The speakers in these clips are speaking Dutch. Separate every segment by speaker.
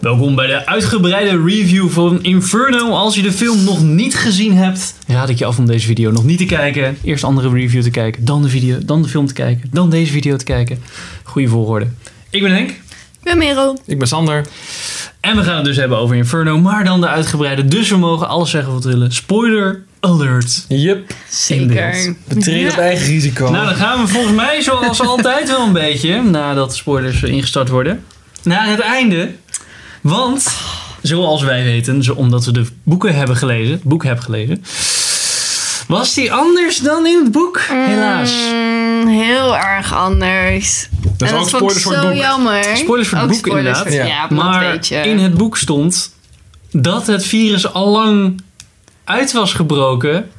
Speaker 1: Welkom bij de uitgebreide review van Inferno. Als je de film nog niet gezien hebt, raad ik je af om deze video nog niet te kijken. Eerst andere review te kijken, dan de, video, dan de film te kijken, dan deze video te kijken. Goede volgorde. Ik ben Henk
Speaker 2: Ik ben Merel.
Speaker 3: Ik ben Sander.
Speaker 1: en we gaan het dus hebben over Inferno, maar dan de uitgebreide. Dus we mogen alles zeggen wat we willen. Spoiler alert.
Speaker 3: Yep.
Speaker 1: beeld.
Speaker 2: Zeker.
Speaker 3: We treden op eigen risico.
Speaker 1: Nou, dan gaan we volgens mij zoals altijd wel een beetje, nadat de spoilers ingestart worden, naar het einde. Want, zoals wij weten, zo- omdat we de boeken hebben gelezen, het boek hebben gelezen, was die anders dan in het boek, helaas.
Speaker 2: Mm, heel erg anders.
Speaker 3: dat is
Speaker 2: en
Speaker 3: ook
Speaker 2: dat vond ik
Speaker 3: spoilers voor het
Speaker 2: zo
Speaker 3: boek.
Speaker 2: jammer.
Speaker 1: Spoilers voor het
Speaker 2: Ook
Speaker 1: boek,
Speaker 2: spoilers
Speaker 1: inderdaad.
Speaker 2: voor-
Speaker 3: Ja.
Speaker 2: Ja, maar, dat
Speaker 1: Maar
Speaker 2: weet je.
Speaker 1: in het boek stond dat het virus allang uit was gebroken.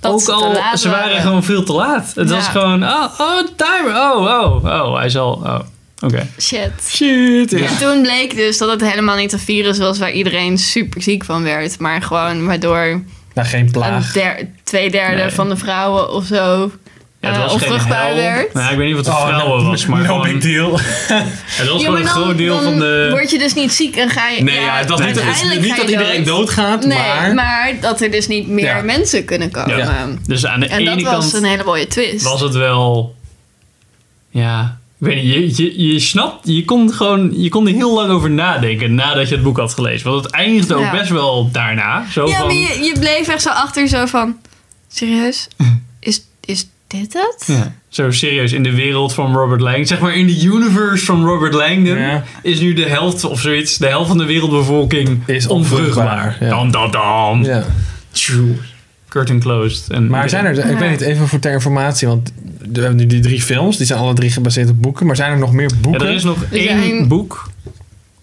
Speaker 2: Dat
Speaker 1: ook
Speaker 2: ze te
Speaker 1: al,
Speaker 2: laat
Speaker 1: ze waren
Speaker 2: waren.
Speaker 1: gewoon veel te laat. Het
Speaker 2: Ja.
Speaker 1: was gewoon, oh, oh, timer, oh, oh, oh, hij zal, oh, oké.
Speaker 2: Shit.
Speaker 1: Shit, ja.
Speaker 2: En toen bleek dus dat het helemaal niet een virus was waar iedereen super ziek van werd. Maar gewoon waardoor
Speaker 3: Nou, geen
Speaker 2: een
Speaker 3: plaag.
Speaker 2: der, twee derde
Speaker 1: Nee.
Speaker 2: van de vrouwen of zo
Speaker 1: Ja, het
Speaker 2: eh,
Speaker 1: was geen
Speaker 2: onvruchtbaar
Speaker 1: hel.
Speaker 2: werd.
Speaker 1: Nou, ik weet niet wat de vrouwen
Speaker 3: Oh, no,
Speaker 1: was, maar
Speaker 3: no
Speaker 1: gewoon,
Speaker 3: big deal.
Speaker 1: het was
Speaker 2: Ja,
Speaker 1: gewoon
Speaker 2: maar
Speaker 1: een
Speaker 2: dan-
Speaker 1: groot deel
Speaker 2: dan
Speaker 1: van de...
Speaker 2: word je dus niet ziek en ga je...
Speaker 3: Nee, ja, het was niet, het is
Speaker 2: uiteindelijk
Speaker 3: niet
Speaker 2: ga
Speaker 3: dat
Speaker 2: je
Speaker 3: iedereen doodgaat,
Speaker 2: Nee, maar...
Speaker 3: maar...
Speaker 2: dat er dus niet meer
Speaker 3: Ja.
Speaker 2: mensen kunnen komen.
Speaker 3: Ja.
Speaker 1: Dus aan de
Speaker 2: En dat
Speaker 1: ene
Speaker 2: was
Speaker 1: kant
Speaker 2: een hele mooie twist.
Speaker 1: was het wel... Ja, ik weet niet, je, je, je snapt, je kon, gewoon, je kon er heel lang over nadenken nadat je het boek had gelezen. Want het eindigde ook
Speaker 2: Ja.
Speaker 1: best wel daarna. Zo
Speaker 2: ja,
Speaker 1: van,
Speaker 2: maar je, je bleef echt zo achter zo van... Serieus? Is, is dit het?
Speaker 1: Ja. Zo serieus, in de wereld van Robert Langdon, zeg maar in de universe van Robert Langdon,
Speaker 3: Ja.
Speaker 1: is nu de helft of zoiets, de helft van de wereldbevolking
Speaker 3: Is
Speaker 1: onvruchtbaar.
Speaker 3: onvruchtbaar, ja.
Speaker 1: Dan, dan, dan.
Speaker 3: Ja.
Speaker 1: Tjoe. Curtain closed. En
Speaker 3: Maar zijn er, ik
Speaker 2: Ja.
Speaker 3: weet niet, even voor ter informatie, want we hebben nu die drie films, die zijn alle drie gebaseerd op boeken, maar zijn er nog meer
Speaker 1: Ja,
Speaker 3: boeken?
Speaker 1: er is nog
Speaker 2: Er
Speaker 1: één
Speaker 2: zijn-
Speaker 1: boek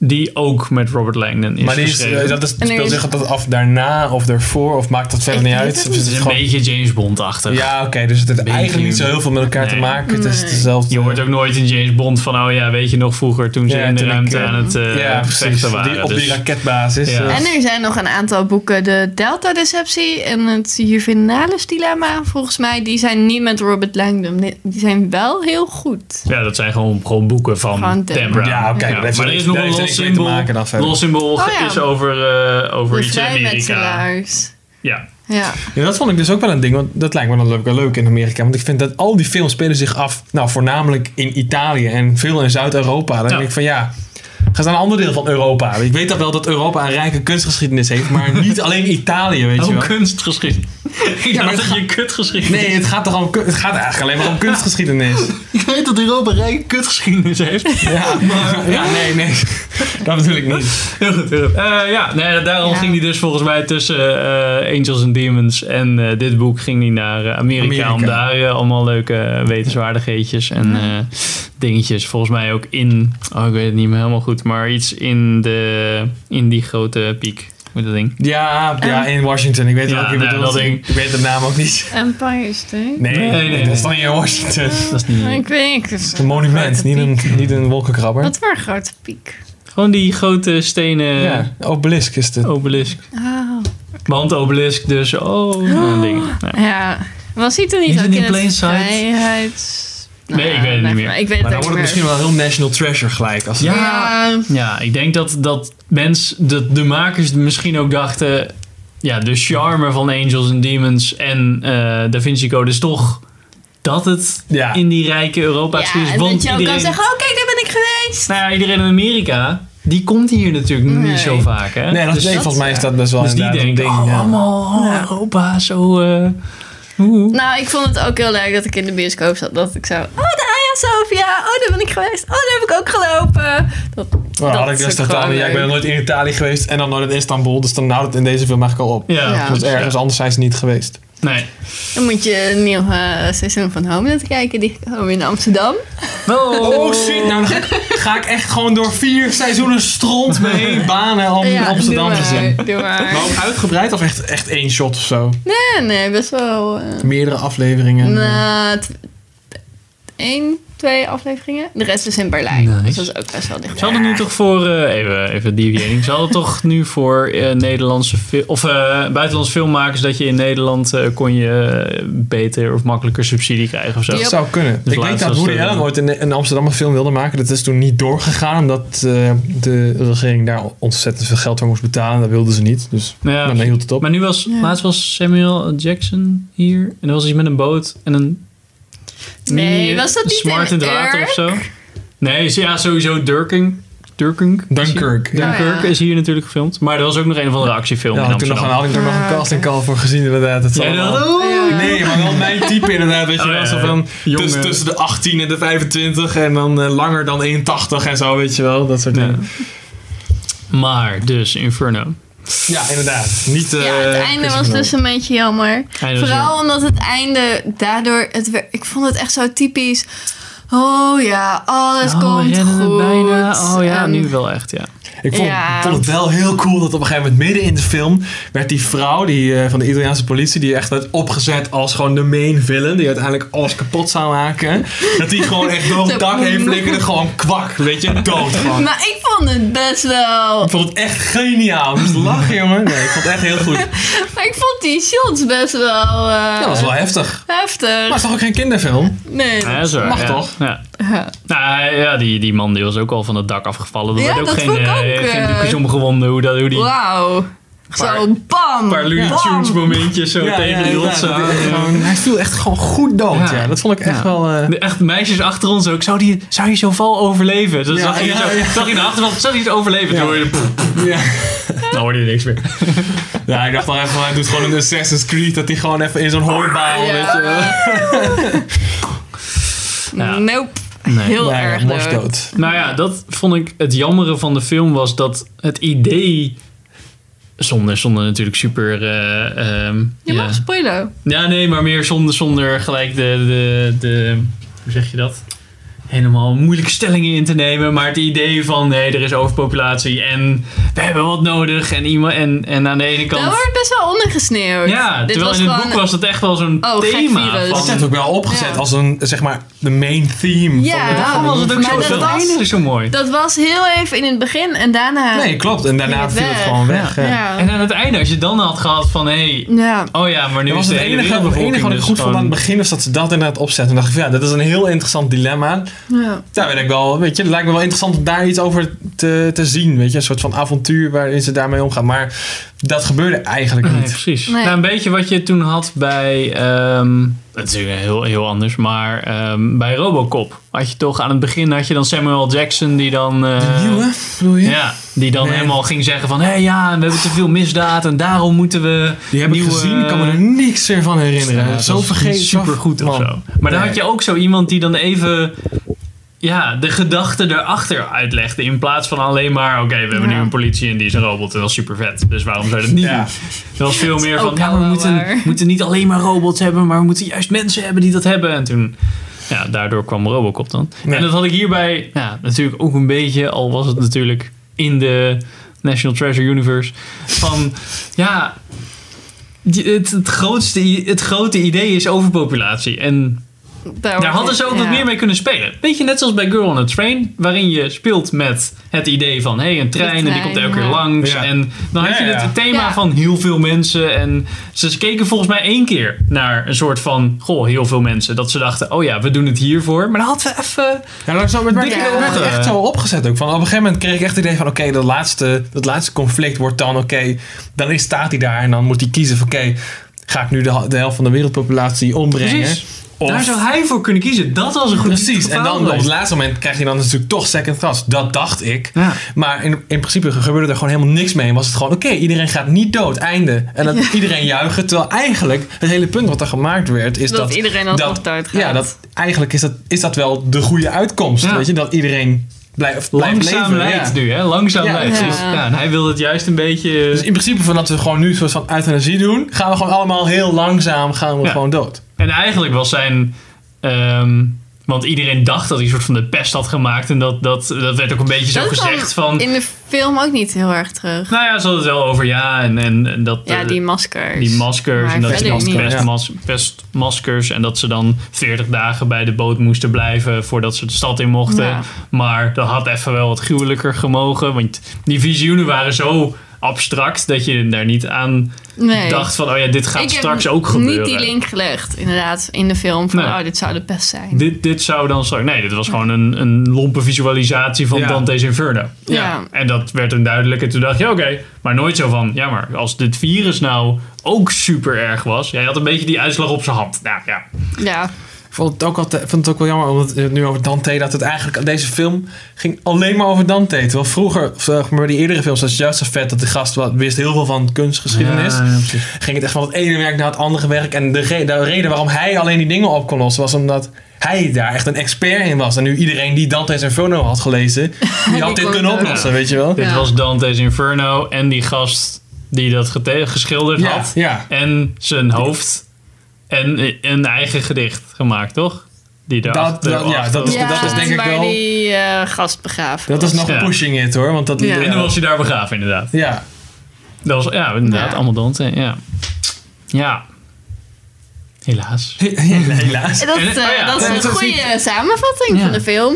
Speaker 1: die ook met Robert Langdon is
Speaker 3: maar die is,
Speaker 1: geschreven.
Speaker 3: eh, dat is,
Speaker 2: En er
Speaker 3: speelt
Speaker 2: is-
Speaker 3: zich dat af daarna of daarvoor, of maakt dat verder
Speaker 2: Ik
Speaker 3: niet
Speaker 2: weet
Speaker 3: uit?
Speaker 2: het
Speaker 3: Of
Speaker 2: niet.
Speaker 3: is
Speaker 1: het
Speaker 3: het
Speaker 1: is een
Speaker 3: gewoon-
Speaker 1: beetje James Bond-achtig.
Speaker 3: ja, oké, dus het heeft
Speaker 1: Beetje
Speaker 3: eigenlijk niet zo heel veel met elkaar te
Speaker 1: Nee.
Speaker 3: maken. Het is
Speaker 2: Nee.
Speaker 3: dezelfde.
Speaker 1: Je hoort ook nooit in James Bond van, oh ja, weet je nog vroeger toen ze
Speaker 3: Ja,
Speaker 1: in de
Speaker 3: toen ik,
Speaker 1: ruimte
Speaker 3: eh,
Speaker 1: aan het eh,
Speaker 3: ja, precies.
Speaker 1: vechten waren.
Speaker 3: Die, op
Speaker 1: Dus-
Speaker 3: die raketbasis.
Speaker 1: Ja.
Speaker 3: eh.
Speaker 2: En er zijn nog een aantal boeken. De Delta Deceptie en het Juvenalis Dilemma. Volgens mij, die zijn niet met Robert Langdon. Die- Die zijn wel heel goed.
Speaker 1: Ja, dat zijn gewoon, gewoon boeken van
Speaker 2: Van
Speaker 1: Dan
Speaker 2: Dan
Speaker 1: Brown.
Speaker 3: Ja, oké, dat heeft
Speaker 1: maar er is
Speaker 3: niks-
Speaker 1: nog
Speaker 3: daar
Speaker 1: een
Speaker 3: heeft
Speaker 1: Lost
Speaker 3: niks mee te
Speaker 1: Symbol.
Speaker 3: maken dan verder.
Speaker 1: Lost Symbol
Speaker 2: Oh ja.
Speaker 1: is over, eh, over
Speaker 2: De
Speaker 1: iets in Amerika.
Speaker 2: vrijmetselaars.
Speaker 1: Ja.
Speaker 2: Ja.
Speaker 3: Ja, dat vond ik dus ook wel een ding, want dat lijkt me dan leuk, wel leuk in Amerika. Want ik vind dat al die films spelen zich af, nou voornamelijk in Italië en veel in Zuid-Europa. Dan
Speaker 1: Ja.
Speaker 3: denk ik van ja, ga ze naar een ander deel van Europa. Ik weet dat wel dat Europa een rijke kunstgeschiedenis heeft, maar niet alleen Italië, weet je
Speaker 1: Oh,
Speaker 3: wel.
Speaker 1: kunstgeschiedenis. Ik
Speaker 3: maar
Speaker 1: dacht
Speaker 3: het
Speaker 1: dat je kutgeschiedenis...
Speaker 3: Nee, het gaat, toch om, kun- het gaat eigenlijk alleen maar om kunstgeschiedenis.
Speaker 1: Ik weet dat Europa rijk kutgeschiedenis heeft.
Speaker 3: Ja, maar, ja nee, nee. Dat bedoel ik niet.
Speaker 1: Heel goed, heel goed. Eh, ja, nee, daarom
Speaker 2: Ja.
Speaker 1: ging die dus volgens mij tussen eh, Angels and Demons en eh, dit boek ging die naar eh, Amerika,
Speaker 3: Amerika.
Speaker 1: Om daar eh, allemaal leuke wetenswaardigheidjes en eh, dingetjes. Volgens mij ook in, oh ik weet het niet meer helemaal goed, maar iets in, de, in die grote piek. Hoe dat ding?
Speaker 3: Ja, ja in Washington. Ik weet
Speaker 1: Eh? Ja,
Speaker 3: ook niet
Speaker 1: nee,
Speaker 3: bedoel.
Speaker 1: dat ding.
Speaker 3: ik, ik weet de naam ook niet.
Speaker 2: Empire State?
Speaker 3: Nee,
Speaker 1: Nee, nee,
Speaker 3: dat
Speaker 1: nee.
Speaker 3: is dan niet in Washington. Het
Speaker 1: Dat is niet.
Speaker 2: Ik weet het is
Speaker 3: is een monument, niet een, niet een wolkenkrabber.
Speaker 2: Wat voor een grote piek.
Speaker 1: Gewoon die grote stenen
Speaker 3: Ja, obelisk is het.
Speaker 1: obelisk.
Speaker 2: Oh.
Speaker 1: Want obelisk dus, oh, zo'n ding. Nou,
Speaker 2: Ja, was hij toen niet
Speaker 1: Niet
Speaker 2: ook
Speaker 1: in
Speaker 2: in,
Speaker 1: die
Speaker 2: het
Speaker 1: plain sight?
Speaker 2: vrijheids...
Speaker 1: Nee, ik weet het niet
Speaker 2: leg
Speaker 1: meer.
Speaker 2: maar. Ik weet
Speaker 3: Maar
Speaker 2: het
Speaker 3: dan
Speaker 2: ook
Speaker 3: wordt het
Speaker 2: niet
Speaker 3: misschien
Speaker 2: meer.
Speaker 3: wel heel National Treasure gelijk. Als
Speaker 1: Ja.
Speaker 2: Ja,
Speaker 1: Ja, ik denk dat, dat mens, dat de makers misschien ook dachten... Ja, de charme van Angels and Demons en eh, Da Vinci Code is toch dat het
Speaker 3: Ja.
Speaker 1: in die rijke Europa
Speaker 2: ja,
Speaker 1: is.
Speaker 2: en
Speaker 1: Want
Speaker 2: dat je ook kan
Speaker 1: iedereen,
Speaker 2: zeggen, oh kijk, daar ben ik geweest.
Speaker 1: nou ja, iedereen in Amerika, die komt hier natuurlijk
Speaker 2: Nee.
Speaker 1: niet zo vaak. Hè?
Speaker 3: Nee, dat
Speaker 1: dus,
Speaker 3: nee, volgens mij is dat best wel
Speaker 1: dus die
Speaker 3: inderdaad een
Speaker 1: denken,
Speaker 3: ding.
Speaker 1: oh,
Speaker 3: ja.
Speaker 1: allemaal oh,
Speaker 2: Ja.
Speaker 1: Europa, zo... eh, oeh.
Speaker 2: Nou, ik vond het ook heel leuk dat ik in de bioscoop zat. Dat ik zo, oh de Hagia Sophia, oh daar ben ik geweest, oh daar heb ik ook gelopen. Dat,
Speaker 3: Nou,
Speaker 2: dat
Speaker 3: had ik
Speaker 2: is
Speaker 3: dus
Speaker 2: ook
Speaker 3: totaal
Speaker 2: gewoon
Speaker 3: niet. Ja, ik ben
Speaker 2: leuk.
Speaker 3: nog nooit in Italië geweest en dan nooit in Istanbul. Dus dan houdt het in deze film eigenlijk al op.
Speaker 1: Ja,
Speaker 2: Ja.
Speaker 3: Dus ergens
Speaker 1: ja.
Speaker 3: anders zijn ze niet geweest.
Speaker 1: Nee.
Speaker 2: Dan moet je een nieuw eh, seizoen van Homeland kijken, die komen in Amsterdam.
Speaker 3: Oh shit, nou dan ga ik, ga ik echt gewoon door vier seizoenen stront mee banen om
Speaker 2: ja,
Speaker 3: Amsterdam
Speaker 2: doe
Speaker 3: te
Speaker 2: maar,
Speaker 3: zien.
Speaker 2: Doe maar.
Speaker 3: Maar ook uitgebreid of echt, echt één shot of zo?
Speaker 2: Nee, nee, best wel... eh,
Speaker 3: Meerdere afleveringen.
Speaker 2: Na t- één twee afleveringen. De rest is in Berlijn.
Speaker 1: Nice.
Speaker 2: Dus dat is ook best wel dicht.
Speaker 1: Ze hadden nu toch voor, eh, even, even deviating, ze hadden toch nu voor eh, Nederlandse fil- of eh, buitenlandse filmmakers dat je in Nederland eh, kon je eh, beter of makkelijker subsidie krijgen of zo.
Speaker 2: Yep.
Speaker 3: Dat zou kunnen.
Speaker 1: Dus
Speaker 3: ik weet
Speaker 1: laatst
Speaker 3: dat
Speaker 1: was
Speaker 3: Woody
Speaker 1: er-
Speaker 3: Allen ooit een, een Amsterdamse film wilde maken. Dat is toen niet doorgegaan. Omdat eh, de regering daar ontzettend veel geld voor moest betalen. Dat wilden ze niet. Dus
Speaker 1: Ja.
Speaker 3: nou, dan hield het op.
Speaker 1: Maar nu was,
Speaker 2: Ja.
Speaker 1: laatst was Samuel Jackson hier en er was iets met een boot en een
Speaker 2: Nee,
Speaker 1: mini-
Speaker 2: was dat niet
Speaker 1: smart
Speaker 2: in
Speaker 1: in het water
Speaker 2: Urk?
Speaker 1: of zo. Nee, ze- ja, sowieso Durking. Durking.
Speaker 3: Dunkirk. Ja,
Speaker 2: Oh, Ja.
Speaker 1: Dunkirk is hier natuurlijk gefilmd. Maar er was ook nog een of andere actiefilm
Speaker 3: ja
Speaker 1: in
Speaker 3: had toen nog een,
Speaker 1: Amsterdam.
Speaker 3: had ik er nog een
Speaker 2: Ah,
Speaker 3: casting call voor gezien inderdaad. Het zal
Speaker 1: Jij
Speaker 3: wel.
Speaker 1: dacht, oeh,
Speaker 2: Ja.
Speaker 3: Nee, maar wel mijn type inderdaad. Weet je
Speaker 1: Oh,
Speaker 3: wel,
Speaker 1: ja,
Speaker 3: zo van
Speaker 1: jongen.
Speaker 3: tussen, tussen de 18 en de 25 en dan eh, langer dan 1,80 en zo, weet je wel. Dat soort
Speaker 1: Ja.
Speaker 3: dingen.
Speaker 1: Maar dus, Inferno.
Speaker 3: Ja, inderdaad. Niet, eh,
Speaker 2: Ja, het einde
Speaker 3: Chris
Speaker 2: was
Speaker 3: Nolan.
Speaker 2: dus een beetje jammer.
Speaker 1: Einde was
Speaker 2: Vooral omdat het einde daardoor... Het, wer- ik vond het echt zo typisch. Oh ja, alles komt
Speaker 1: redden het
Speaker 2: goed.
Speaker 1: "Oh, bijna. Oh ja,
Speaker 2: En-
Speaker 1: nu wel echt, ja.
Speaker 3: Ik vond,
Speaker 2: Ja.
Speaker 3: ik vond het wel heel cool dat op een gegeven moment midden in de film werd die vrouw die, eh, van de Italiaanse politie, die echt werd opgezet als gewoon de main villain, die uiteindelijk alles kapot zou maken, dat die gewoon echt door het dak heen flikkerde, gewoon kwak, weet je, dood gewoon.
Speaker 2: Maar ik vond het best wel...
Speaker 3: Ik vond het echt geniaal. Ik moest lachen, jongen. Nee, ik vond het echt heel goed.
Speaker 2: Maar ik vond die shots best wel... eh,
Speaker 3: Dat was wel heftig. Maar het
Speaker 2: Heftig.
Speaker 3: is toch ook geen kinderfilm?
Speaker 2: Nee.
Speaker 1: Ja, zo,
Speaker 3: mag
Speaker 1: ja.
Speaker 3: toch?
Speaker 1: Ja.
Speaker 2: Ja.
Speaker 1: Nou ja, die, die man die was ook al van het dak afgevallen. Er
Speaker 2: Ja,
Speaker 1: werd ook
Speaker 2: dat
Speaker 1: geen,
Speaker 2: vond ik
Speaker 1: eh,
Speaker 2: ook,
Speaker 1: geen
Speaker 2: eh,
Speaker 1: doekjes omgewonden hoe, dat, hoe die
Speaker 2: Wauw. Zo bam.
Speaker 1: paar Looney
Speaker 2: bam.
Speaker 1: Tunes momentjes zo tegen die
Speaker 3: inderdaad.
Speaker 1: rotsen aan.
Speaker 3: Dat- gewoon- Hij viel echt gewoon goed dood,
Speaker 1: Ja.
Speaker 3: ja. Dat vond ik echt
Speaker 1: Ja.
Speaker 3: wel... eh,
Speaker 1: De echt meisjes achter ons ook. Zou, die, zou je zo'n val overleven? Dus
Speaker 3: Ja,
Speaker 1: zag je
Speaker 3: ja,
Speaker 1: zo,
Speaker 3: ja.
Speaker 1: zag je de achterkant, zag je het overleven?
Speaker 3: Ja.
Speaker 1: Toen hoorde je, poef,
Speaker 3: ja.
Speaker 1: nou hoorde je niks meer.
Speaker 3: ja, ik dacht al even, van, hij doet gewoon een Assassin's Creed, dat hij gewoon even in zo'n hooibaal,
Speaker 2: Ja.
Speaker 3: weet je wel.
Speaker 1: Ja.
Speaker 2: Nope.
Speaker 1: Nee.
Speaker 2: Heel
Speaker 3: Ja, ja,
Speaker 2: erg
Speaker 3: mors
Speaker 2: leuk.
Speaker 3: dood.
Speaker 1: Nou ja, dat vond ik het jammere van de film was dat het idee... Zonder, zonder natuurlijk super... eh, ehm,
Speaker 2: Je
Speaker 1: ja.
Speaker 2: mag spoilen.
Speaker 1: Ja, nee, maar meer zonder, zonder gelijk de, de, de. Hoe zeg je dat? Helemaal moeilijke stellingen in te nemen. Maar het idee van nee, er is overpopulatie en we hebben wat nodig. En, iemand, en, en aan de ene
Speaker 2: Dat
Speaker 1: kant.
Speaker 2: wordt best wel ondergesneeuwd.
Speaker 1: Ja,
Speaker 2: Nou, Dit
Speaker 1: terwijl
Speaker 2: was
Speaker 1: in het boek
Speaker 2: gewoon-
Speaker 1: was dat echt wel zo'n
Speaker 2: Oh, gek
Speaker 1: thema.
Speaker 2: virus.
Speaker 1: Van,
Speaker 3: Dat werd ook wel opgezet
Speaker 2: Ja.
Speaker 3: als een, zeg maar, de main theme.
Speaker 2: Ja.
Speaker 3: van de-
Speaker 1: daarom was het ook
Speaker 2: Maar
Speaker 1: zo.
Speaker 2: dat
Speaker 1: Dat
Speaker 2: was-
Speaker 1: einde is zo mooi.
Speaker 2: Dat was heel even in het begin en daarna...
Speaker 3: Nee, klopt. En daarna
Speaker 2: Ging het
Speaker 3: viel het
Speaker 2: weg.
Speaker 3: gewoon weg. Ja.
Speaker 2: Ja.
Speaker 1: En aan het einde, als je dan had gehad van hé, hey,
Speaker 2: Ja.
Speaker 1: oh ja, maar nu
Speaker 3: Dat
Speaker 1: is
Speaker 3: was
Speaker 1: de
Speaker 3: het
Speaker 1: hele
Speaker 3: enige, het enige
Speaker 1: wereldbevolking
Speaker 3: wat ik
Speaker 1: dus
Speaker 3: goed vond aan
Speaker 1: gewoon-
Speaker 3: het begin, is dat ze dat inderdaad opzetten. En dacht ik, van, ja, dat is een heel interessant dilemma.
Speaker 2: ja.
Speaker 3: Daar ben ik wel, weet je, het lijkt me wel interessant om daar iets over te, te zien. Weet je, een soort van avontuur waarin ze daarmee omgaan. Maar dat gebeurde eigenlijk
Speaker 1: Nee,
Speaker 3: niet.
Speaker 1: precies.
Speaker 2: Nee.
Speaker 1: Nou, een beetje wat je toen had bij. ehm dat is natuurlijk heel, heel anders, maar ehm, bij Robocop had je toch aan het begin had je dan Samuel Jackson die dan. eh,
Speaker 3: De nieuwe, bedoel je?
Speaker 1: Ja, die dan
Speaker 3: Nee.
Speaker 1: helemaal ging zeggen van, hé ja, we hebben te veel misdaad en daarom moeten we...
Speaker 3: Die heb ik
Speaker 1: nieuwe-
Speaker 3: gezien, ik kan me er niks meer van herinneren.
Speaker 1: Ja, dat
Speaker 3: zo
Speaker 1: was
Speaker 3: vergeten.
Speaker 1: niet supergoed of
Speaker 3: man.
Speaker 1: zo. Maar dan
Speaker 3: Nee.
Speaker 1: had je ook zo iemand die dan even ja, de gedachten erachter uitlegde. In plaats van alleen maar, oké, we hebben
Speaker 2: Ja.
Speaker 1: nu een politie en die is een robot en dat is super vet. Dus waarom zou je dat niet
Speaker 3: Ja.
Speaker 1: doen? Er was veel meer
Speaker 2: is
Speaker 1: van,
Speaker 2: ook
Speaker 1: ja, we
Speaker 2: wel
Speaker 1: moeten,
Speaker 2: waar.
Speaker 1: we moeten niet alleen maar robots hebben, maar we moeten juist mensen hebben die dat hebben. En toen... Ja, daardoor kwam Robocop dan.
Speaker 3: Ja.
Speaker 1: En dat had ik hierbij ja, natuurlijk ook een beetje, al was het natuurlijk in de National Treasure Universe. Van ja, die- het, het, grootste, i- het grote idee is overpopulatie. En daar hadden ze ook wat
Speaker 2: Oh, ja.
Speaker 1: meer mee kunnen spelen. Weet je, net zoals bij Girl on a Train, waarin je speelt met het idee van hé, hey, een trein, en die
Speaker 2: trein,
Speaker 1: komt elke keer
Speaker 2: ja.
Speaker 1: langs.
Speaker 3: Ja.
Speaker 1: En dan had
Speaker 3: Ja,
Speaker 1: je
Speaker 3: ja.
Speaker 1: het thema
Speaker 2: Ja.
Speaker 1: van heel veel mensen. En ze keken volgens mij één keer naar een soort van goh, heel veel mensen. Dat ze dachten, oh ja, we doen het hiervoor. Maar dan hadden we even.
Speaker 3: Ja, maar zo werd werd-
Speaker 1: Dikke
Speaker 3: werd het
Speaker 1: ogen.
Speaker 3: echt zo opgezet ook. Van, op een gegeven moment kreeg ik echt het idee van... oké, dat, laatste, dat laatste conflict wordt dan... oké, dan is, staat hij daar en dan moet hij kiezen van... oké, ga ik nu de, de helft van de wereldpopulatie ombrengen?
Speaker 1: Precies.
Speaker 3: Of,
Speaker 1: Daar zou hij voor kunnen kiezen. Dat was een goed
Speaker 3: precies. En
Speaker 1: gevaar
Speaker 3: dan op het
Speaker 1: geweest.
Speaker 3: laatste moment krijg je dan natuurlijk toch second class. Dat dacht ik.
Speaker 1: Ja.
Speaker 3: Maar in, in principe gebeurde er gewoon helemaal niks mee. En was het gewoon, oké, iedereen gaat niet dood. Einde. En dat iedereen juichen. Terwijl eigenlijk het hele punt wat er gemaakt werd... is
Speaker 2: Dat
Speaker 3: dat,
Speaker 2: iedereen alsnog dood gaat.
Speaker 3: Ja, dat, eigenlijk is dat, is dat wel de goede uitkomst.
Speaker 1: Ja.
Speaker 3: Weet je, dat iedereen blijft, blijft
Speaker 1: Langzaam
Speaker 3: leven.
Speaker 1: leidt
Speaker 3: ja.
Speaker 1: nu, hè? Langzaam
Speaker 3: Ja,
Speaker 1: leidt.
Speaker 2: precies.
Speaker 1: Ja. en hij wil het juist een beetje... eh,
Speaker 3: Dus in principe van dat we gewoon nu een soort van euthanasie doen... gaan we gewoon allemaal heel langzaam gaan we
Speaker 1: Ja.
Speaker 3: gewoon dood.
Speaker 1: En eigenlijk was zijn... ehm, Want iedereen dacht dat hij een soort van de pest had gemaakt. En dat, dat, dat werd ook een beetje zo
Speaker 2: Dat kwam
Speaker 1: gezegd van...
Speaker 2: In de film ook niet heel erg terug.
Speaker 1: Nou ja, ze hadden het wel over ja en, en, en dat...
Speaker 2: Ja,
Speaker 1: eh,
Speaker 2: die maskers.
Speaker 1: die maskers
Speaker 2: Maar
Speaker 1: en dat ze
Speaker 2: verder
Speaker 1: dan
Speaker 2: niet.
Speaker 1: pestmas, pestmaskers en dat ze dan 40 dagen bij de boot moesten blijven voordat ze de stad in mochten.
Speaker 2: Ja.
Speaker 1: Maar dat had even wel wat gruwelijker gemogen, want die visioenen waren zo abstract dat je daar niet aan
Speaker 2: Nee.
Speaker 1: dacht van oh ja, dit gaat
Speaker 2: Ik heb
Speaker 1: straks ook gebeuren.
Speaker 2: Niet die link gelegd, inderdaad, in de film. Van,
Speaker 1: Nee.
Speaker 2: oh, dit zou de pest zijn.
Speaker 1: Dit, dit zou dan straks... Nee, dit was gewoon een, een lompe visualisatie van
Speaker 3: Ja.
Speaker 1: Dante's Inferno.
Speaker 2: Ja.
Speaker 1: En dat werd een duidelijk. En toen dacht je, oké, maar nooit zo van... Ja, maar als dit virus nou ook super erg was... Jij had een beetje die uitslag op zijn hand. Nou ja,
Speaker 2: Ja.
Speaker 3: Ik vond het ook, altijd, vond het ook wel jammer, omdat het nu over Dante, dat het eigenlijk, deze film ging alleen maar over Dante. Terwijl vroeger, of, zeg maar die eerdere films, zoals Just vet dat de gast wat, wist heel veel van kunstgeschiedenis.
Speaker 1: Ja, ja, precies.
Speaker 3: ging het echt van het ene werk naar het andere werk. En de, re- de reden waarom hij alleen die dingen op kon lossen, was omdat hij daar echt een expert in was. En nu iedereen die Dante's Inferno had gelezen, die had dit
Speaker 2: kon
Speaker 3: kunnen
Speaker 2: het ook.
Speaker 3: oplossen, weet je wel?
Speaker 1: Dit
Speaker 2: Ja.
Speaker 1: was Dante's Inferno en die gast die dat gete- geschilderd
Speaker 3: Ja,
Speaker 1: had.
Speaker 3: ja.
Speaker 1: En zijn hoofd en een eigen gedicht gemaakt, toch? Die daar
Speaker 3: Dat- dat- ja, dat is-
Speaker 2: ja,
Speaker 3: dat is denk ik
Speaker 2: waar
Speaker 3: wel-
Speaker 2: die eh, gast begraven
Speaker 3: Dat is
Speaker 2: was.
Speaker 3: nog
Speaker 1: Ja.
Speaker 3: pushing it hoor, want dat...
Speaker 2: Ja.
Speaker 1: En dan was hij daar begraven, inderdaad.
Speaker 3: Ja,
Speaker 1: Dat was, ja, inderdaad,
Speaker 2: Ja.
Speaker 1: allemaal Dante, ja. Ja. Helaas.
Speaker 3: helaas.
Speaker 2: Dat,
Speaker 1: En-
Speaker 2: eh,
Speaker 1: oh ja,
Speaker 2: dat is
Speaker 3: dat
Speaker 2: een
Speaker 3: is iets-
Speaker 2: goede samenvatting
Speaker 1: Ja.
Speaker 2: van de film.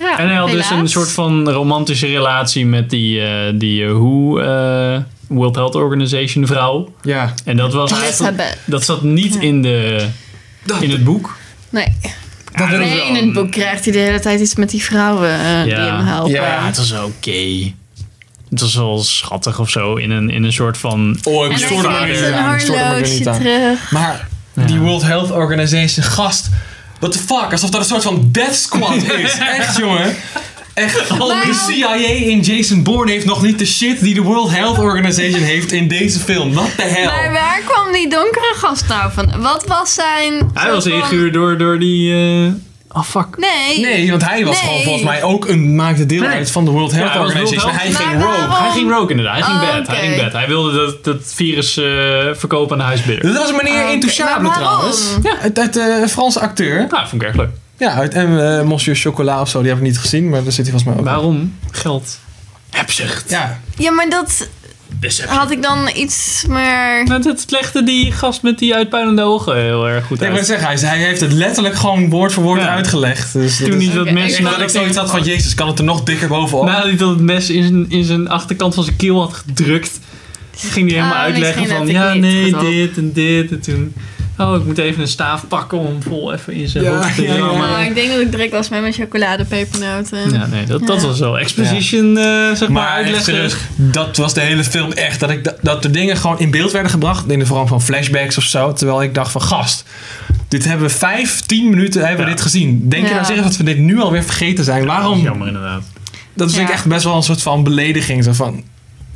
Speaker 2: Ja,
Speaker 1: En hij had
Speaker 2: helaas.
Speaker 1: dus een soort van romantische relatie met die, eh, die eh, WHO, eh, World Health Organization vrouw.
Speaker 3: Ja.
Speaker 1: En dat was eigenlijk-
Speaker 2: Elizabeth.
Speaker 1: dat zat niet in, de, in het boek.
Speaker 2: Nee.
Speaker 1: Ja, Ah, dat was
Speaker 2: nee,
Speaker 1: wel
Speaker 2: in het
Speaker 1: een-
Speaker 2: boek krijgt hij de hele tijd iets met die vrouwen eh, die hem helpen.
Speaker 1: Ja, het was oké. Het was wel schattig of zo. In een, in een soort van.
Speaker 3: Oh, ik
Speaker 2: En hij
Speaker 3: stoorde me er
Speaker 2: geeft
Speaker 3: niet
Speaker 2: een
Speaker 3: aan, ik stoorde me er
Speaker 2: horloge
Speaker 3: niet aan.
Speaker 2: terug.
Speaker 3: Maar die World Health Organization gast. What the fuck? Alsof dat een soort van death squad is. Echt, jongen. Echt, de CIA in Jason Bourne heeft nog niet de shit die de World Health Organization heeft in deze film. What the hell?
Speaker 2: Maar waar kwam die donkere gast nou van? Wat was zijn...
Speaker 1: Hij was
Speaker 2: soort van-
Speaker 1: ingehuurd door, door die. eh, Oh fuck.
Speaker 2: Nee.
Speaker 3: Nee, want hij was
Speaker 2: Nee.
Speaker 3: gewoon volgens mij ook een maakte deel
Speaker 1: Nee.
Speaker 3: uit van de World Health
Speaker 1: Ja, hij was World
Speaker 3: Organization.
Speaker 1: Health-
Speaker 3: Hij ging
Speaker 2: Maar
Speaker 3: rogue.
Speaker 2: waarom-
Speaker 1: Oh, Hij ging rogue inderdaad. Hij ging
Speaker 2: Oh,
Speaker 1: bad. Hij
Speaker 2: oké.
Speaker 1: ging bad. Hij wilde dat, dat virus eh, verkopen aan de huisbidder.
Speaker 3: Dat was een meneer
Speaker 1: Oh.
Speaker 2: Oké,
Speaker 3: Intouchable
Speaker 2: maar waarom?
Speaker 3: trouwens. Ja, uit, uit eh, Franse acteur.
Speaker 1: Nou, vond ik erg leuk.
Speaker 3: Ja, uit en, eh, Monsieur Chocolat of zo. Die heb ik niet gezien, maar daar zit hij volgens mij ook.
Speaker 1: Waarom? Geld. Hebzucht. Dus, eh,
Speaker 3: Ja,
Speaker 2: Ja, maar dat had ik dan iets meer...
Speaker 1: Nou, dat legde die gast met die uitpuilende ogen heel erg goed
Speaker 3: Nee,
Speaker 1: uit.
Speaker 3: maar zeggen, hij, hij heeft het letterlijk gewoon woord voor woord
Speaker 1: Ja.
Speaker 3: uitgelegd. Dus dat
Speaker 1: Toen Nou,
Speaker 3: is-
Speaker 1: niet dat
Speaker 2: Oké,
Speaker 3: Ik
Speaker 1: mensen...
Speaker 3: denk dat ik zoiets had van, jezus, kan het er nog dikker bovenop?
Speaker 1: Nadat hij dat het mes in zijn, in zijn achterkant van zijn keel had gedrukt, ging hij helemaal
Speaker 2: Ah,
Speaker 1: uitleggen
Speaker 2: misschien
Speaker 1: van
Speaker 2: let ik
Speaker 1: ja,
Speaker 2: niet
Speaker 1: nee,
Speaker 2: goed op.
Speaker 1: dit en dit. En toen, oh, ik moet even een staaf pakken om vol even in zijn
Speaker 3: Ja,
Speaker 1: hoofd te
Speaker 3: ja, ja.
Speaker 1: rammen.
Speaker 2: Nou, ik denk dat ik direct was met mijn chocoladepepernoten.
Speaker 1: Ja, nee, dat, dat
Speaker 2: Ja.
Speaker 1: was wel exposition, eh, zeg maar,
Speaker 3: maar echt
Speaker 1: uitleggen.
Speaker 3: serieus, dat was de hele film echt. Dat, ik, dat, dat de dingen gewoon in beeld werden gebracht in de vorm van flashbacks of zo. Terwijl ik dacht van, gast, dit hebben we vijf, tien minuten hebben we
Speaker 1: Ja.
Speaker 3: dit gezien. Denk je
Speaker 2: Ja.
Speaker 3: nou zeggen dat we dit nu alweer vergeten zijn? Waarom?
Speaker 1: Jammer inderdaad.
Speaker 3: Dat is denk ik
Speaker 2: Ja.
Speaker 3: echt best wel een soort van belediging. Zo van,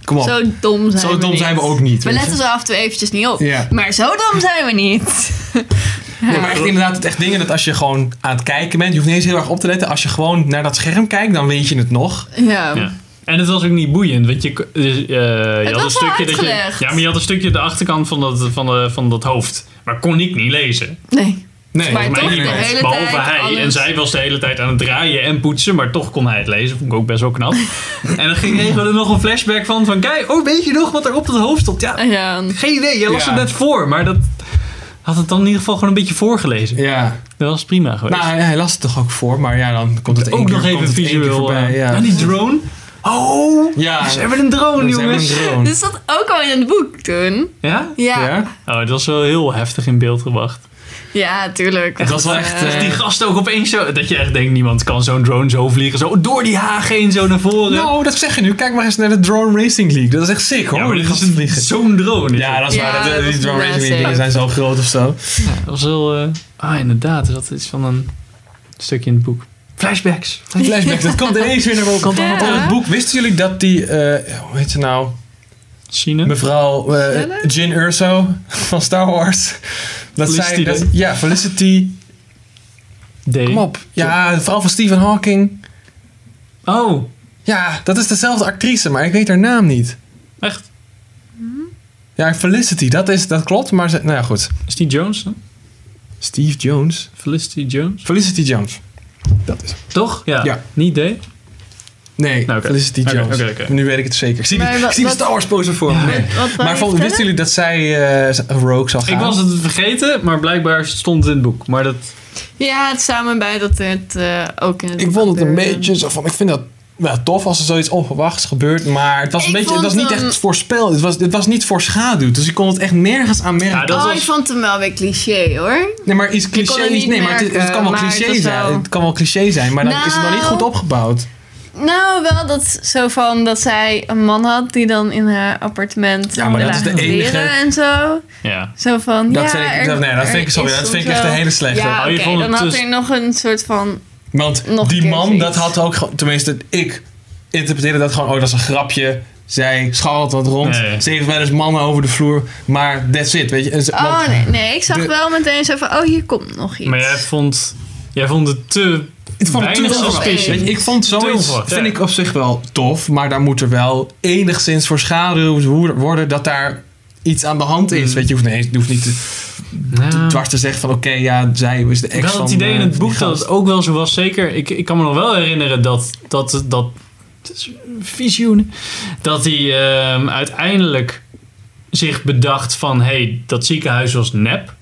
Speaker 3: kom op.
Speaker 2: Zo dom zijn
Speaker 3: Zo
Speaker 2: we
Speaker 3: dom
Speaker 2: niet.
Speaker 3: zijn we ook niet,
Speaker 2: We
Speaker 3: weet je.
Speaker 2: letten zo af en toe eventjes niet op.
Speaker 3: Ja.
Speaker 2: Maar zo dom zijn we niet.
Speaker 3: Nee, maar echt inderdaad, het echt dingen dat als je gewoon aan het kijken bent, je hoeft niet eens heel erg op te letten. Als je gewoon naar dat scherm kijkt, dan weet je het nog.
Speaker 2: Ja.
Speaker 1: Ja. En het was ook niet boeiend, want je, dus, eh, je
Speaker 2: was
Speaker 1: had een
Speaker 2: wel
Speaker 1: stukje dat je,
Speaker 2: uitgelegd.
Speaker 1: ja, maar je had een stukje de achterkant van dat, van, de, van dat hoofd, maar kon ik niet lezen.
Speaker 2: Nee.
Speaker 3: Nee,
Speaker 2: Maar
Speaker 3: volgens mij
Speaker 1: Mij
Speaker 2: toch de
Speaker 3: niet.
Speaker 1: niemand.
Speaker 2: hele
Speaker 1: Behalve hij.
Speaker 2: tijd alles.
Speaker 1: En zij was de hele tijd aan het draaien en poetsen, maar toch kon hij het lezen. Vond ik ook best wel knap. en dan ging Ego er nog een flashback van: van kijk, oh, weet je nog wat er op dat hoofd stond? Ja,
Speaker 2: Ja.
Speaker 1: geen idee. Jij las
Speaker 3: Ja.
Speaker 1: het net voor, maar dat had het dan in ieder geval gewoon een beetje voorgelezen.
Speaker 3: Ja.
Speaker 1: Dat was prima geweest.
Speaker 3: Nou, hij las het toch ook voor, maar ja, dan komt het één
Speaker 1: ook
Speaker 3: keer-
Speaker 1: nog
Speaker 3: komt
Speaker 1: even
Speaker 3: het één keer
Speaker 1: visueel.
Speaker 3: voorbij.
Speaker 1: eh,
Speaker 3: Ja.
Speaker 1: En die drone. Oh,
Speaker 3: Ja.
Speaker 1: ze hebben een drone,
Speaker 3: Dat is
Speaker 1: jongens.
Speaker 3: helemaal een drone.
Speaker 2: Dus dat ook al in het boek toen.
Speaker 1: Ja?
Speaker 2: Ja. Ja,
Speaker 3: Ja?
Speaker 1: Oh, dat was wel heel heftig in beeld gebracht.
Speaker 2: tuurlijk.
Speaker 3: Dat was wel
Speaker 2: Want,
Speaker 3: echt,
Speaker 2: eh,
Speaker 1: Dus die gast ook opeens zo... Dat je echt denkt, niemand kan zo'n drone zo vliegen. Zo door die haag heen, zo naar voren.
Speaker 3: Nou, dat zeg je nu. Kijk maar eens naar de Drone Racing League. Dat is echt sick, hoor.
Speaker 1: Ja, maar dit
Speaker 3: Die
Speaker 1: is
Speaker 3: gasten
Speaker 1: een-
Speaker 3: vliegen.
Speaker 1: zo'n drone.
Speaker 3: Ja, dat is
Speaker 2: Ja,
Speaker 3: waar. Dat-
Speaker 2: dat
Speaker 3: die
Speaker 2: is
Speaker 3: Drone
Speaker 2: wel
Speaker 3: Racing
Speaker 2: sick.
Speaker 3: League dingen zijn zo groot of zo.
Speaker 1: dat was heel... eh, ah, inderdaad. Er zat iets van een stukje in het boek. Flashbacks.
Speaker 3: Flashback, dat komt ineens weer naar boven.
Speaker 1: Komt allemaal
Speaker 2: Ja.
Speaker 3: Van het boek, wisten jullie dat die, eh, hoe heet ze nou?
Speaker 1: Sine.
Speaker 3: Mevrouw eh,
Speaker 2: Sneller?
Speaker 3: Jin Urso van Star Wars. Dat
Speaker 1: Felicity,
Speaker 3: zij, dat,
Speaker 1: hè?
Speaker 3: ja, Felicity.
Speaker 1: D.
Speaker 3: Kom op. Ja, de vrouw van Stephen Hawking.
Speaker 1: Oh,
Speaker 3: Ja, dat is dezelfde actrice, maar ik weet haar naam niet.
Speaker 1: echt.
Speaker 3: Ja, Felicity, dat, is, dat klopt, maar ze, nou ja, goed.
Speaker 1: Is die Jones dan?
Speaker 3: Steve Jones.
Speaker 1: Felicity Jones.
Speaker 3: Felicity Jones. Dat is hem.
Speaker 1: Toch? Ja.
Speaker 3: Ja.
Speaker 1: Niet D?
Speaker 3: Nee,
Speaker 1: Nou, oké.
Speaker 3: Felicity
Speaker 1: Oké,
Speaker 3: Jones.
Speaker 1: oké, oké.
Speaker 3: Nu weet ik het zeker. Ik zie,
Speaker 2: Maar
Speaker 3: die,
Speaker 2: wa-
Speaker 3: ik zie die
Speaker 2: wat-
Speaker 3: Star Wars poster voor me. Nee.
Speaker 2: Wat wou
Speaker 3: eh, Maar
Speaker 2: je
Speaker 3: van,
Speaker 2: vertellen?
Speaker 3: wisten jullie dat zij eh, Rogue zou gaan?
Speaker 1: Ik was het vergeten, maar blijkbaar stond het in het boek. Maar dat...
Speaker 2: Ja, het staat me bij dat het eh, ook in het
Speaker 3: Ik
Speaker 2: boek
Speaker 3: vond het een
Speaker 2: gebeurde.
Speaker 3: beetje zo van, ik vind dat wel tof als er zoiets onverwachts gebeurt. Maar het was, een
Speaker 2: Ik
Speaker 3: beetje, het was
Speaker 2: vond
Speaker 3: niet
Speaker 2: hem-
Speaker 3: echt voorspel. Het was, het was niet voorschaduwd. Dus ik kon het echt nergens aan merken.
Speaker 1: Ja, dat
Speaker 2: oh,
Speaker 1: was-
Speaker 2: ik vond hem wel weer cliché hoor.
Speaker 3: Nee, maar iets
Speaker 2: kon
Speaker 3: cliché
Speaker 2: het
Speaker 3: is.
Speaker 2: niet
Speaker 3: Nee, maar het, het
Speaker 2: merken,
Speaker 3: kan wel
Speaker 2: maar
Speaker 3: cliché
Speaker 2: het was
Speaker 3: zijn.
Speaker 2: wel-
Speaker 3: Het kan wel cliché zijn, maar dan is het nog niet
Speaker 2: Nou.
Speaker 3: goed opgebouwd.
Speaker 2: Nou, wel dat zo van dat zij een man had die dan in haar appartement
Speaker 3: Ja, maar
Speaker 2: de
Speaker 3: dat is de
Speaker 2: lage
Speaker 3: enige-
Speaker 2: kleren en zo.
Speaker 1: Ja.
Speaker 2: Zo van,
Speaker 3: Dat
Speaker 2: ja,
Speaker 3: vind ik-
Speaker 2: er-
Speaker 3: dat- nee, dat
Speaker 2: er
Speaker 3: vind ik- sorry,
Speaker 2: is
Speaker 3: dat vind ik
Speaker 2: soms
Speaker 3: echt een
Speaker 2: wel-
Speaker 3: hele slechte.
Speaker 2: Ja,
Speaker 1: Oh, je
Speaker 2: oké,
Speaker 1: vond het
Speaker 2: dan had
Speaker 1: dus-
Speaker 2: er nog een soort van...
Speaker 3: Want
Speaker 2: Nog een
Speaker 3: die
Speaker 2: keer
Speaker 3: man,
Speaker 2: zoiets.
Speaker 3: dat had ook gewoon. Tenminste, ik interpreteerde dat gewoon. Oh, dat is een grapje. Zij scharrelt wat rond.
Speaker 1: Nee.
Speaker 3: Ze heeft wel eens mannen over de vloer. Maar that's it, weet je. En ze- want-
Speaker 2: Oh nee, nee, ik zag
Speaker 3: de-
Speaker 2: wel meteen zo van, oh hier komt nog iets.
Speaker 1: Maar jij vond, jij vond het te
Speaker 3: Ik vond het
Speaker 1: weinig
Speaker 3: te onverwacht.
Speaker 1: suspicious.
Speaker 3: Weet je, ik vond zoiets,
Speaker 1: Te onverwacht, ja.
Speaker 3: vind ik op zich wel tof, maar daar moet er wel enigszins voor schaduw worden dat daar iets aan de hand is.
Speaker 1: Mm.
Speaker 3: Weet je, je hoeft, nee, je hoeft niet te, te
Speaker 1: Nou.
Speaker 3: dwars te zeggen van oké, ja, zij is de ex
Speaker 1: Ik had
Speaker 3: van...
Speaker 1: het idee in
Speaker 3: eh,
Speaker 1: het boek
Speaker 3: die
Speaker 1: dat
Speaker 3: gast.
Speaker 1: het ook wel zo was. Zeker, ik, ik kan me nog wel herinneren dat... dat, dat het is een visioen. Dat hij ehm, uiteindelijk zich bedacht van... Hé, hey, dat ziekenhuis was nep.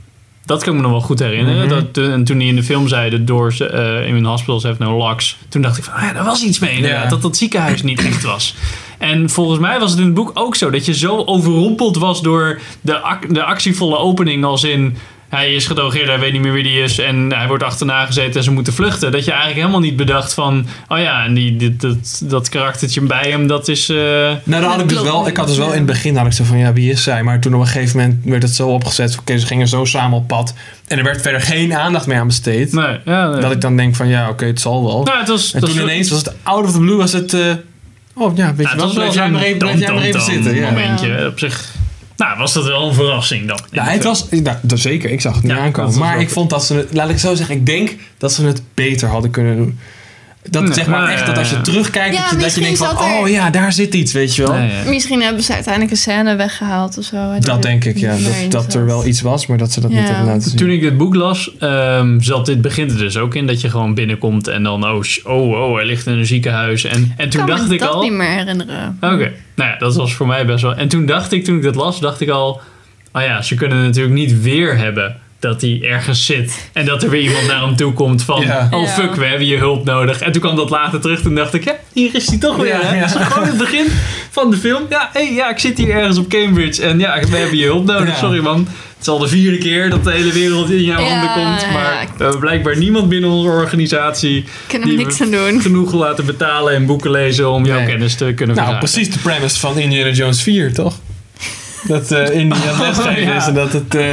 Speaker 1: Dat kan ik me nog wel goed herinneren.
Speaker 3: Mhm.
Speaker 1: dat, toen- en toen hij in de film zei... The doors eh, in hospitals have no locks. Toen dacht ik van... Ah, ja, daar was iets mee inderdaad.
Speaker 3: Ja.
Speaker 1: Dat dat ziekenhuis niet echt was. En volgens mij was het in het boek ook zo. Dat je zo overrompeld was door de, ac- de actievolle opening. Als in hij is gedogeerd, hij weet niet meer wie die is. En hij wordt achterna gezeten en ze moeten vluchten. Dat je eigenlijk helemaal niet bedacht van. Oh ja, en die, dit- dat, dat karaktertje bij hem, dat is. eh,
Speaker 3: Nou, dan had ik dus wel, ik had dus wel in het begin had ik zo van ja, wie is zij? Maar toen op een gegeven moment werd het zo opgezet, oké, ze gingen zo samen op pad en er werd verder geen aandacht meer aan besteed.
Speaker 1: nee, ja, nee.
Speaker 3: Dat ik dan denk van ja, oké, het zal wel.
Speaker 1: nou, het was,
Speaker 3: en
Speaker 1: dat
Speaker 3: toen
Speaker 1: was-
Speaker 3: ineens was het out of the blue, was het... eh, oh ja, weet
Speaker 1: ja,
Speaker 3: je
Speaker 1: het was
Speaker 3: wel,
Speaker 1: wel
Speaker 3: blijf jij
Speaker 1: zo'n
Speaker 3: maar even, blijf jij maar even
Speaker 1: dan-dan-dan
Speaker 3: zitten. Ja.
Speaker 1: momentje. Op zich. Nou, was dat wel een verrassing dan.
Speaker 3: Ja, het was, nou, dat zeker, ik zag het niet
Speaker 1: Ja, dat
Speaker 3: aankomen.
Speaker 1: was
Speaker 3: Maar
Speaker 1: wel-
Speaker 3: ik vond dat ze het, laat ik het zo zeggen, ik denk dat ze het beter hadden kunnen doen. Dat
Speaker 1: Nee,
Speaker 3: zeg maar
Speaker 1: maar,
Speaker 3: echt, dat als je
Speaker 1: eh,
Speaker 3: terugkijkt,
Speaker 2: Ja,
Speaker 3: dat, je, dat je
Speaker 2: misschien
Speaker 3: denkt van,
Speaker 2: zat er-
Speaker 3: oh ja, daar zit iets, weet je wel.
Speaker 1: Nee, ja.
Speaker 2: Misschien hebben ze uiteindelijk een scène weggehaald of zo.
Speaker 3: Dat denk ik, ja, dat, dat er wel iets was, maar dat ze dat niet
Speaker 2: dus. Ja.
Speaker 3: hebben laten zien.
Speaker 1: Toen ik dit boek las, ehm, zat dit, begint er dus ook in dat je gewoon binnenkomt en dan, oh, sh- oh, oh hij ligt in een ziekenhuis. En, en toen
Speaker 2: kan
Speaker 1: dacht
Speaker 2: me
Speaker 1: ik
Speaker 2: dat
Speaker 1: al.
Speaker 2: niet meer herinneren.
Speaker 1: Oké, nou ja, dat was voor mij best wel. En toen dacht ik, toen ik dat las, dacht ik al. Oh ja, ze kunnen natuurlijk niet weer hebben dat hij ergens zit. En dat er weer iemand naar hem toe komt van.
Speaker 3: Ja.
Speaker 1: Oh
Speaker 2: Ja.
Speaker 1: fuck, we hebben je hulp nodig. En toen kwam dat later terug. Toen dacht ik, ja, hier is hij toch weer.
Speaker 3: Ja,
Speaker 1: hè?
Speaker 3: ja.
Speaker 1: Dat is gewoon het begin van de film. Ja, hé, ja, ik zit hier ergens op Cambridge. En ja, we hebben je hulp nodig.
Speaker 3: Ja.
Speaker 1: Sorry man. Het is al de vierde keer dat de hele wereld in jouw
Speaker 2: Ja,
Speaker 1: handen komt. Maar
Speaker 2: ja.
Speaker 1: we hebben blijkbaar niemand binnen onze organisatie
Speaker 2: Kunnen we
Speaker 1: Die
Speaker 2: niks
Speaker 1: we-
Speaker 2: aan doen.
Speaker 1: genoeg laten betalen en boeken lezen om jouw
Speaker 3: Nee.
Speaker 1: kennis te kunnen
Speaker 3: nou,
Speaker 1: verzamelen.
Speaker 3: precies de premise van Indiana Jones 4, toch? Dat eh Indy aan het lesgeven
Speaker 1: ja.
Speaker 3: is en dat het... eh,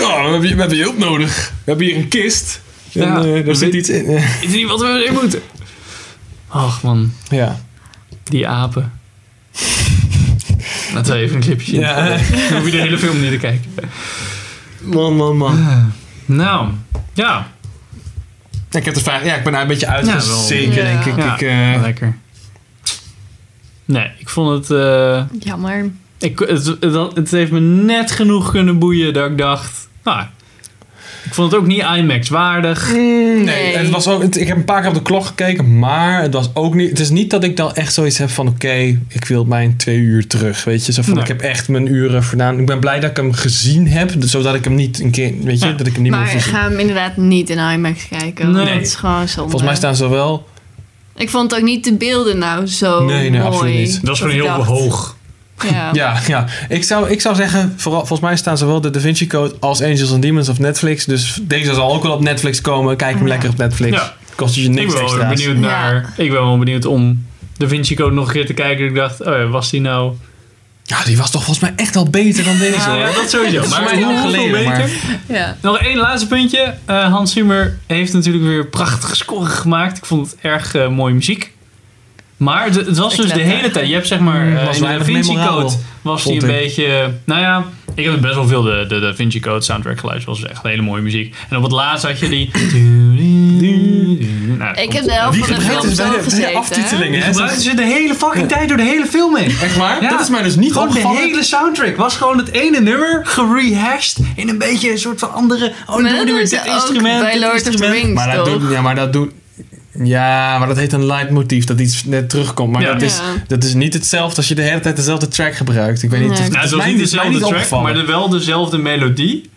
Speaker 3: oh, we hebben, je- we hebben je hulp nodig. We hebben hier een kist. En,
Speaker 1: Ja.
Speaker 3: eh,
Speaker 1: We
Speaker 3: daar zit
Speaker 1: weten-
Speaker 3: iets in. eh.
Speaker 1: Is niet wat we erin moeten? Ach man,
Speaker 3: ja.
Speaker 1: die apen. Laten we even een clipje zien.
Speaker 3: Ja.
Speaker 1: Dan hoef je de hele film niet te kijken.
Speaker 3: Man, man, man.
Speaker 1: Nou, ja.
Speaker 3: Ja, Ik heb de vraag, ja, ik ben daar een beetje
Speaker 1: Ja,
Speaker 3: uitgezeken,
Speaker 2: wel.
Speaker 3: denk ik.
Speaker 1: Ja.
Speaker 3: ik eh,
Speaker 1: Lekker. Nee, ik vond het... eh,
Speaker 2: Jammer.
Speaker 1: ik, het, het... het heeft me net genoeg kunnen boeien dat ik dacht... Nou, ik vond het ook niet IMAX waardig.
Speaker 3: mm, nee,
Speaker 2: Nee.
Speaker 3: Het was ook, het- ik heb een paar keer op de klok gekeken, maar het was ook niet... Het is niet dat ik dan echt zoiets heb van, oké, ik wil mijn twee uur terug, weet je. Zo van,
Speaker 1: Nee.
Speaker 3: ik heb echt mijn uren gedaan. Ik ben blij dat ik hem gezien heb, dus zodat ik hem niet een keer, weet je,
Speaker 1: Ja.
Speaker 3: dat ik hem niet
Speaker 2: maar
Speaker 3: meer hoef te zien.
Speaker 2: ga hem inderdaad niet in IMAX kijken. want
Speaker 1: Nee.
Speaker 2: Dat is gewoon zonde.
Speaker 3: Volgens mij staan ze wel...
Speaker 2: Ik vond ook niet de beelden nou zo
Speaker 3: Nee, nee,
Speaker 2: mooi.
Speaker 3: absoluut niet.
Speaker 1: Dat is gewoon
Speaker 2: ik
Speaker 1: heel
Speaker 2: dacht,
Speaker 1: hoog.
Speaker 2: Ja.
Speaker 3: Ja, ja. Ik, zou, ik zou zeggen, vooral, volgens mij staan zowel de Da Vinci Code als Angels and Demons op Netflix. Dus deze zal ook wel op Netflix komen. Kijk hem
Speaker 2: Ja.
Speaker 3: lekker op Netflix.
Speaker 1: Ja.
Speaker 3: Kost je
Speaker 1: Ik
Speaker 3: niks
Speaker 1: ben wel weer
Speaker 3: extra's.
Speaker 1: benieuwd
Speaker 2: Ja.
Speaker 1: naar... Ik ben wel benieuwd om Da Vinci Code nog een keer te kijken. Ik dacht, oh ja, was die nou...
Speaker 3: Ja, die was toch volgens mij echt wel beter dan deze
Speaker 1: Ja,
Speaker 3: hoor.
Speaker 1: ja, dat sowieso.
Speaker 3: Ah, is
Speaker 1: Maar
Speaker 3: voor mij lang
Speaker 1: hoeveel
Speaker 3: geleden,
Speaker 1: beter?
Speaker 3: maar-
Speaker 2: ja.
Speaker 1: Nog één laatste puntje. Eh, Hans Zimmer heeft natuurlijk weer prachtige scoren gemaakt. Ik vond het erg eh, mooie muziek. Maar het, het was
Speaker 2: Ik
Speaker 1: dus de
Speaker 2: let
Speaker 1: hele
Speaker 2: daar.
Speaker 1: tijd. Je hebt zeg maar
Speaker 3: Mm,
Speaker 1: eh,
Speaker 3: was
Speaker 1: in de Da
Speaker 3: weinig
Speaker 1: Vinci
Speaker 3: memorabel,
Speaker 1: Code was die een
Speaker 3: vond ik.
Speaker 1: beetje. Nou ja, ik heb best wel veel de, de Da Vinci Code soundtrack geluisterd. was echt hele mooie muziek. En op het laatst had je die. Nou,
Speaker 2: Ik heb de helft
Speaker 3: Die
Speaker 2: van de
Speaker 3: gebruikt
Speaker 2: film
Speaker 3: dus bij
Speaker 2: zo
Speaker 3: de, bij de
Speaker 2: gezeten. hè?
Speaker 3: aftiteling,
Speaker 1: Die
Speaker 3: hè?
Speaker 1: gebruikten ze de hele fucking tijd door de hele film heen.
Speaker 3: Echt waar?
Speaker 1: Ja.
Speaker 3: Dat is mij dus niet
Speaker 1: Gewoon de
Speaker 3: opgevallen.
Speaker 1: hele soundtrack was gewoon het ene nummer gerehashed in een beetje een soort van andere. Oh,
Speaker 2: Maar
Speaker 1: nu doen
Speaker 2: dat
Speaker 1: we
Speaker 2: doen
Speaker 1: dit
Speaker 2: ze ook
Speaker 1: instrument.
Speaker 2: bij
Speaker 1: dit
Speaker 2: Lord of the
Speaker 1: instrument.
Speaker 2: Rings,
Speaker 3: Maar dat
Speaker 2: toch?
Speaker 3: doet, ja, maar dat doet. Ja, maar dat heet een leidmotief, dat iets net terugkomt. Maar
Speaker 1: Ja.
Speaker 3: dat, is,
Speaker 2: Ja.
Speaker 3: dat is niet hetzelfde als je de hele tijd dezelfde track gebruikt. Ik weet niet.
Speaker 2: Nee.
Speaker 3: of-
Speaker 2: Nou,
Speaker 1: Nou,
Speaker 3: dat
Speaker 1: het
Speaker 3: is
Speaker 1: was
Speaker 3: mij
Speaker 1: niet
Speaker 3: is mij
Speaker 1: dezelfde track,
Speaker 3: opgevallen.
Speaker 1: maar wel dezelfde melodie.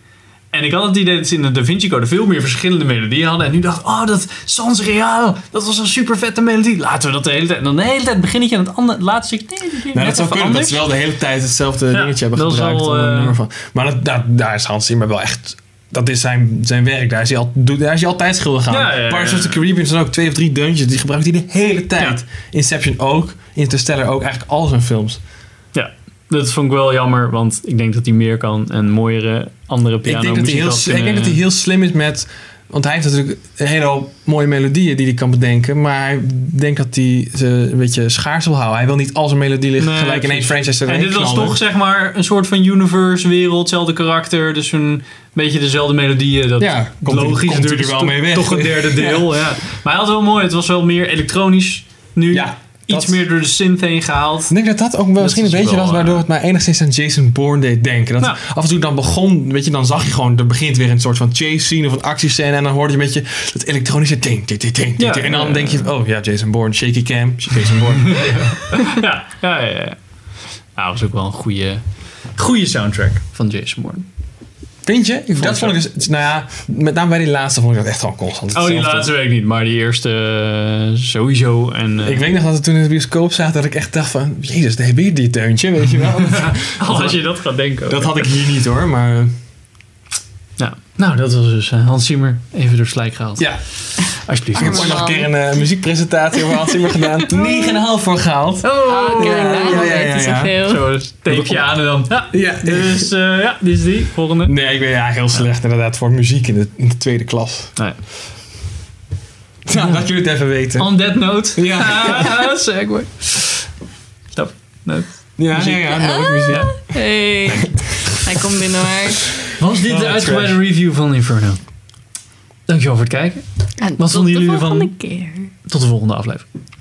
Speaker 1: En ik had het idee dat ze in de Da Vinci Code veel meer verschillende melodieën hadden. En nu dacht ik, oh, dat Sans Real, dat was een super vette melodie. Laten we dat de hele tijd. En dan de hele tijd beginnetje en het andere, laatste stuk. Nee, nee,
Speaker 3: Nou, dat zou kunnen, dat ze wel de hele tijd hetzelfde
Speaker 1: Ja,
Speaker 3: dingetje hebben
Speaker 1: dat is
Speaker 3: gebruikt.
Speaker 1: wel,
Speaker 3: om een
Speaker 1: eh,
Speaker 3: nummer van. Maar dat, dat- daar is Hans Zimmer wel echt... Dat is zijn, zijn werk, daar is hij, al, doet- daar is hij altijd schuldig aan.
Speaker 1: Ja, ja, ja.
Speaker 3: Pirates of the Caribbean zijn ook twee of drie deuntjes, die gebruikt hij de hele tijd. Inception ook, Interstellar ook, eigenlijk al zijn films.
Speaker 1: Ja, dat vond ik wel jammer, want ik denk dat hij meer kan en mooiere andere
Speaker 3: Ik
Speaker 1: piano eh,
Speaker 3: denk, dat hij heel,
Speaker 1: muziek had
Speaker 3: ik denk
Speaker 1: kunnen-
Speaker 3: dat hij heel slim is met... Want hij heeft natuurlijk een hele hoop mooie melodieën die hij kan bedenken. Maar hij denkt dat hij ze een beetje schaars wil houden. Hij wil niet al zijn melodie liggen
Speaker 1: Nee,
Speaker 3: gelijk in één
Speaker 1: precies.
Speaker 3: franchise
Speaker 1: En
Speaker 3: erin
Speaker 1: dit was
Speaker 3: knallen.
Speaker 1: toch zeg maar een soort van universe wereld, hetzelfde karakter, dus een beetje dezelfde melodieën. Dat
Speaker 3: Ja, komt hij-
Speaker 1: logisch
Speaker 3: komt hij
Speaker 1: natuurlijk
Speaker 3: er dus wel
Speaker 1: toch-
Speaker 3: mee weg.
Speaker 1: Toch een derde deel, ja. Maar hij had wel mooi, het was wel meer elektronisch nu.
Speaker 3: Ja,
Speaker 1: iets
Speaker 3: dat-
Speaker 1: meer door de synth heen gehaald.
Speaker 3: Ik denk dat dat ook wel misschien een
Speaker 1: is
Speaker 3: beetje
Speaker 1: wel,
Speaker 3: was
Speaker 1: eh,
Speaker 3: waardoor het mij enigszins aan Jason Bourne deed denken. Dat
Speaker 1: Nou.
Speaker 3: af en toe dan begon, weet je, dan zag je gewoon, er begint weer een soort van chase scene of een actiescène en dan hoorde je een beetje dat elektronische ting, ting, ting, ting, ting,
Speaker 1: Ja,
Speaker 3: ting. En dan
Speaker 1: ja,
Speaker 3: denk je, oh ja, Jason Bourne, shaky cam, Jason Bourne.
Speaker 1: Ja, ja, ja. ja. Nou, dat was ook wel een goede, goede soundtrack van Jason Bourne.
Speaker 3: Vind je? dat
Speaker 1: het
Speaker 3: vond ik dus, nou ja, met name bij die laatste vond ik dat echt gewoon constant
Speaker 1: Oh, die
Speaker 3: hetzelfde.
Speaker 1: laatste weet ik niet, maar die eerste eh, sowieso. En, eh,
Speaker 3: Ik weet nog dat we toen in de bioscoop zaten dat ik echt dacht van, jezus, daar heb je die deuntje, weet je wel.
Speaker 1: al als je dat gaat denken. ook.
Speaker 3: dat had ik hier niet hoor, maar eh,
Speaker 1: Nou, nou, dat was dus eh, Hans Zimmer even door slijk gehaald.
Speaker 3: ja.
Speaker 1: Alsjeblieft.
Speaker 3: Ik heb ooit nog een
Speaker 2: man.
Speaker 3: keer een eh, muziekpresentatie over Hans Zimmer gedaan. 9,5 voor gehaald.
Speaker 1: Oh!
Speaker 2: Ah, kijk,
Speaker 3: Ja,
Speaker 2: daarom
Speaker 3: ja, ja,
Speaker 2: weten ze
Speaker 3: ja.
Speaker 2: veel.
Speaker 1: Zo, dus tapeje aan en dan. Ja,
Speaker 3: Ja,
Speaker 1: dus eh, ja, dit is die. Volgende.
Speaker 3: Nee, ik ben ja, heel slecht inderdaad voor muziek in de, in de tweede klas.
Speaker 1: Nee.
Speaker 3: Nou, dat jullie het even weten.
Speaker 1: On that note.
Speaker 3: Ja.
Speaker 1: Ah, segway. Stop. Note.
Speaker 3: Ja, ja, ja, nooit muziek.
Speaker 2: Ah, Hey, hij komt binnen hoor.
Speaker 1: Was dit
Speaker 3: Oh,
Speaker 1: de
Speaker 3: trash.
Speaker 1: uitgebreide review van Inferno? Dankjewel voor het kijken.
Speaker 2: En
Speaker 1: Wat
Speaker 2: tot
Speaker 1: vonden
Speaker 2: de
Speaker 1: jullie ervan?
Speaker 2: volgende keer.
Speaker 1: Tot de volgende aflevering.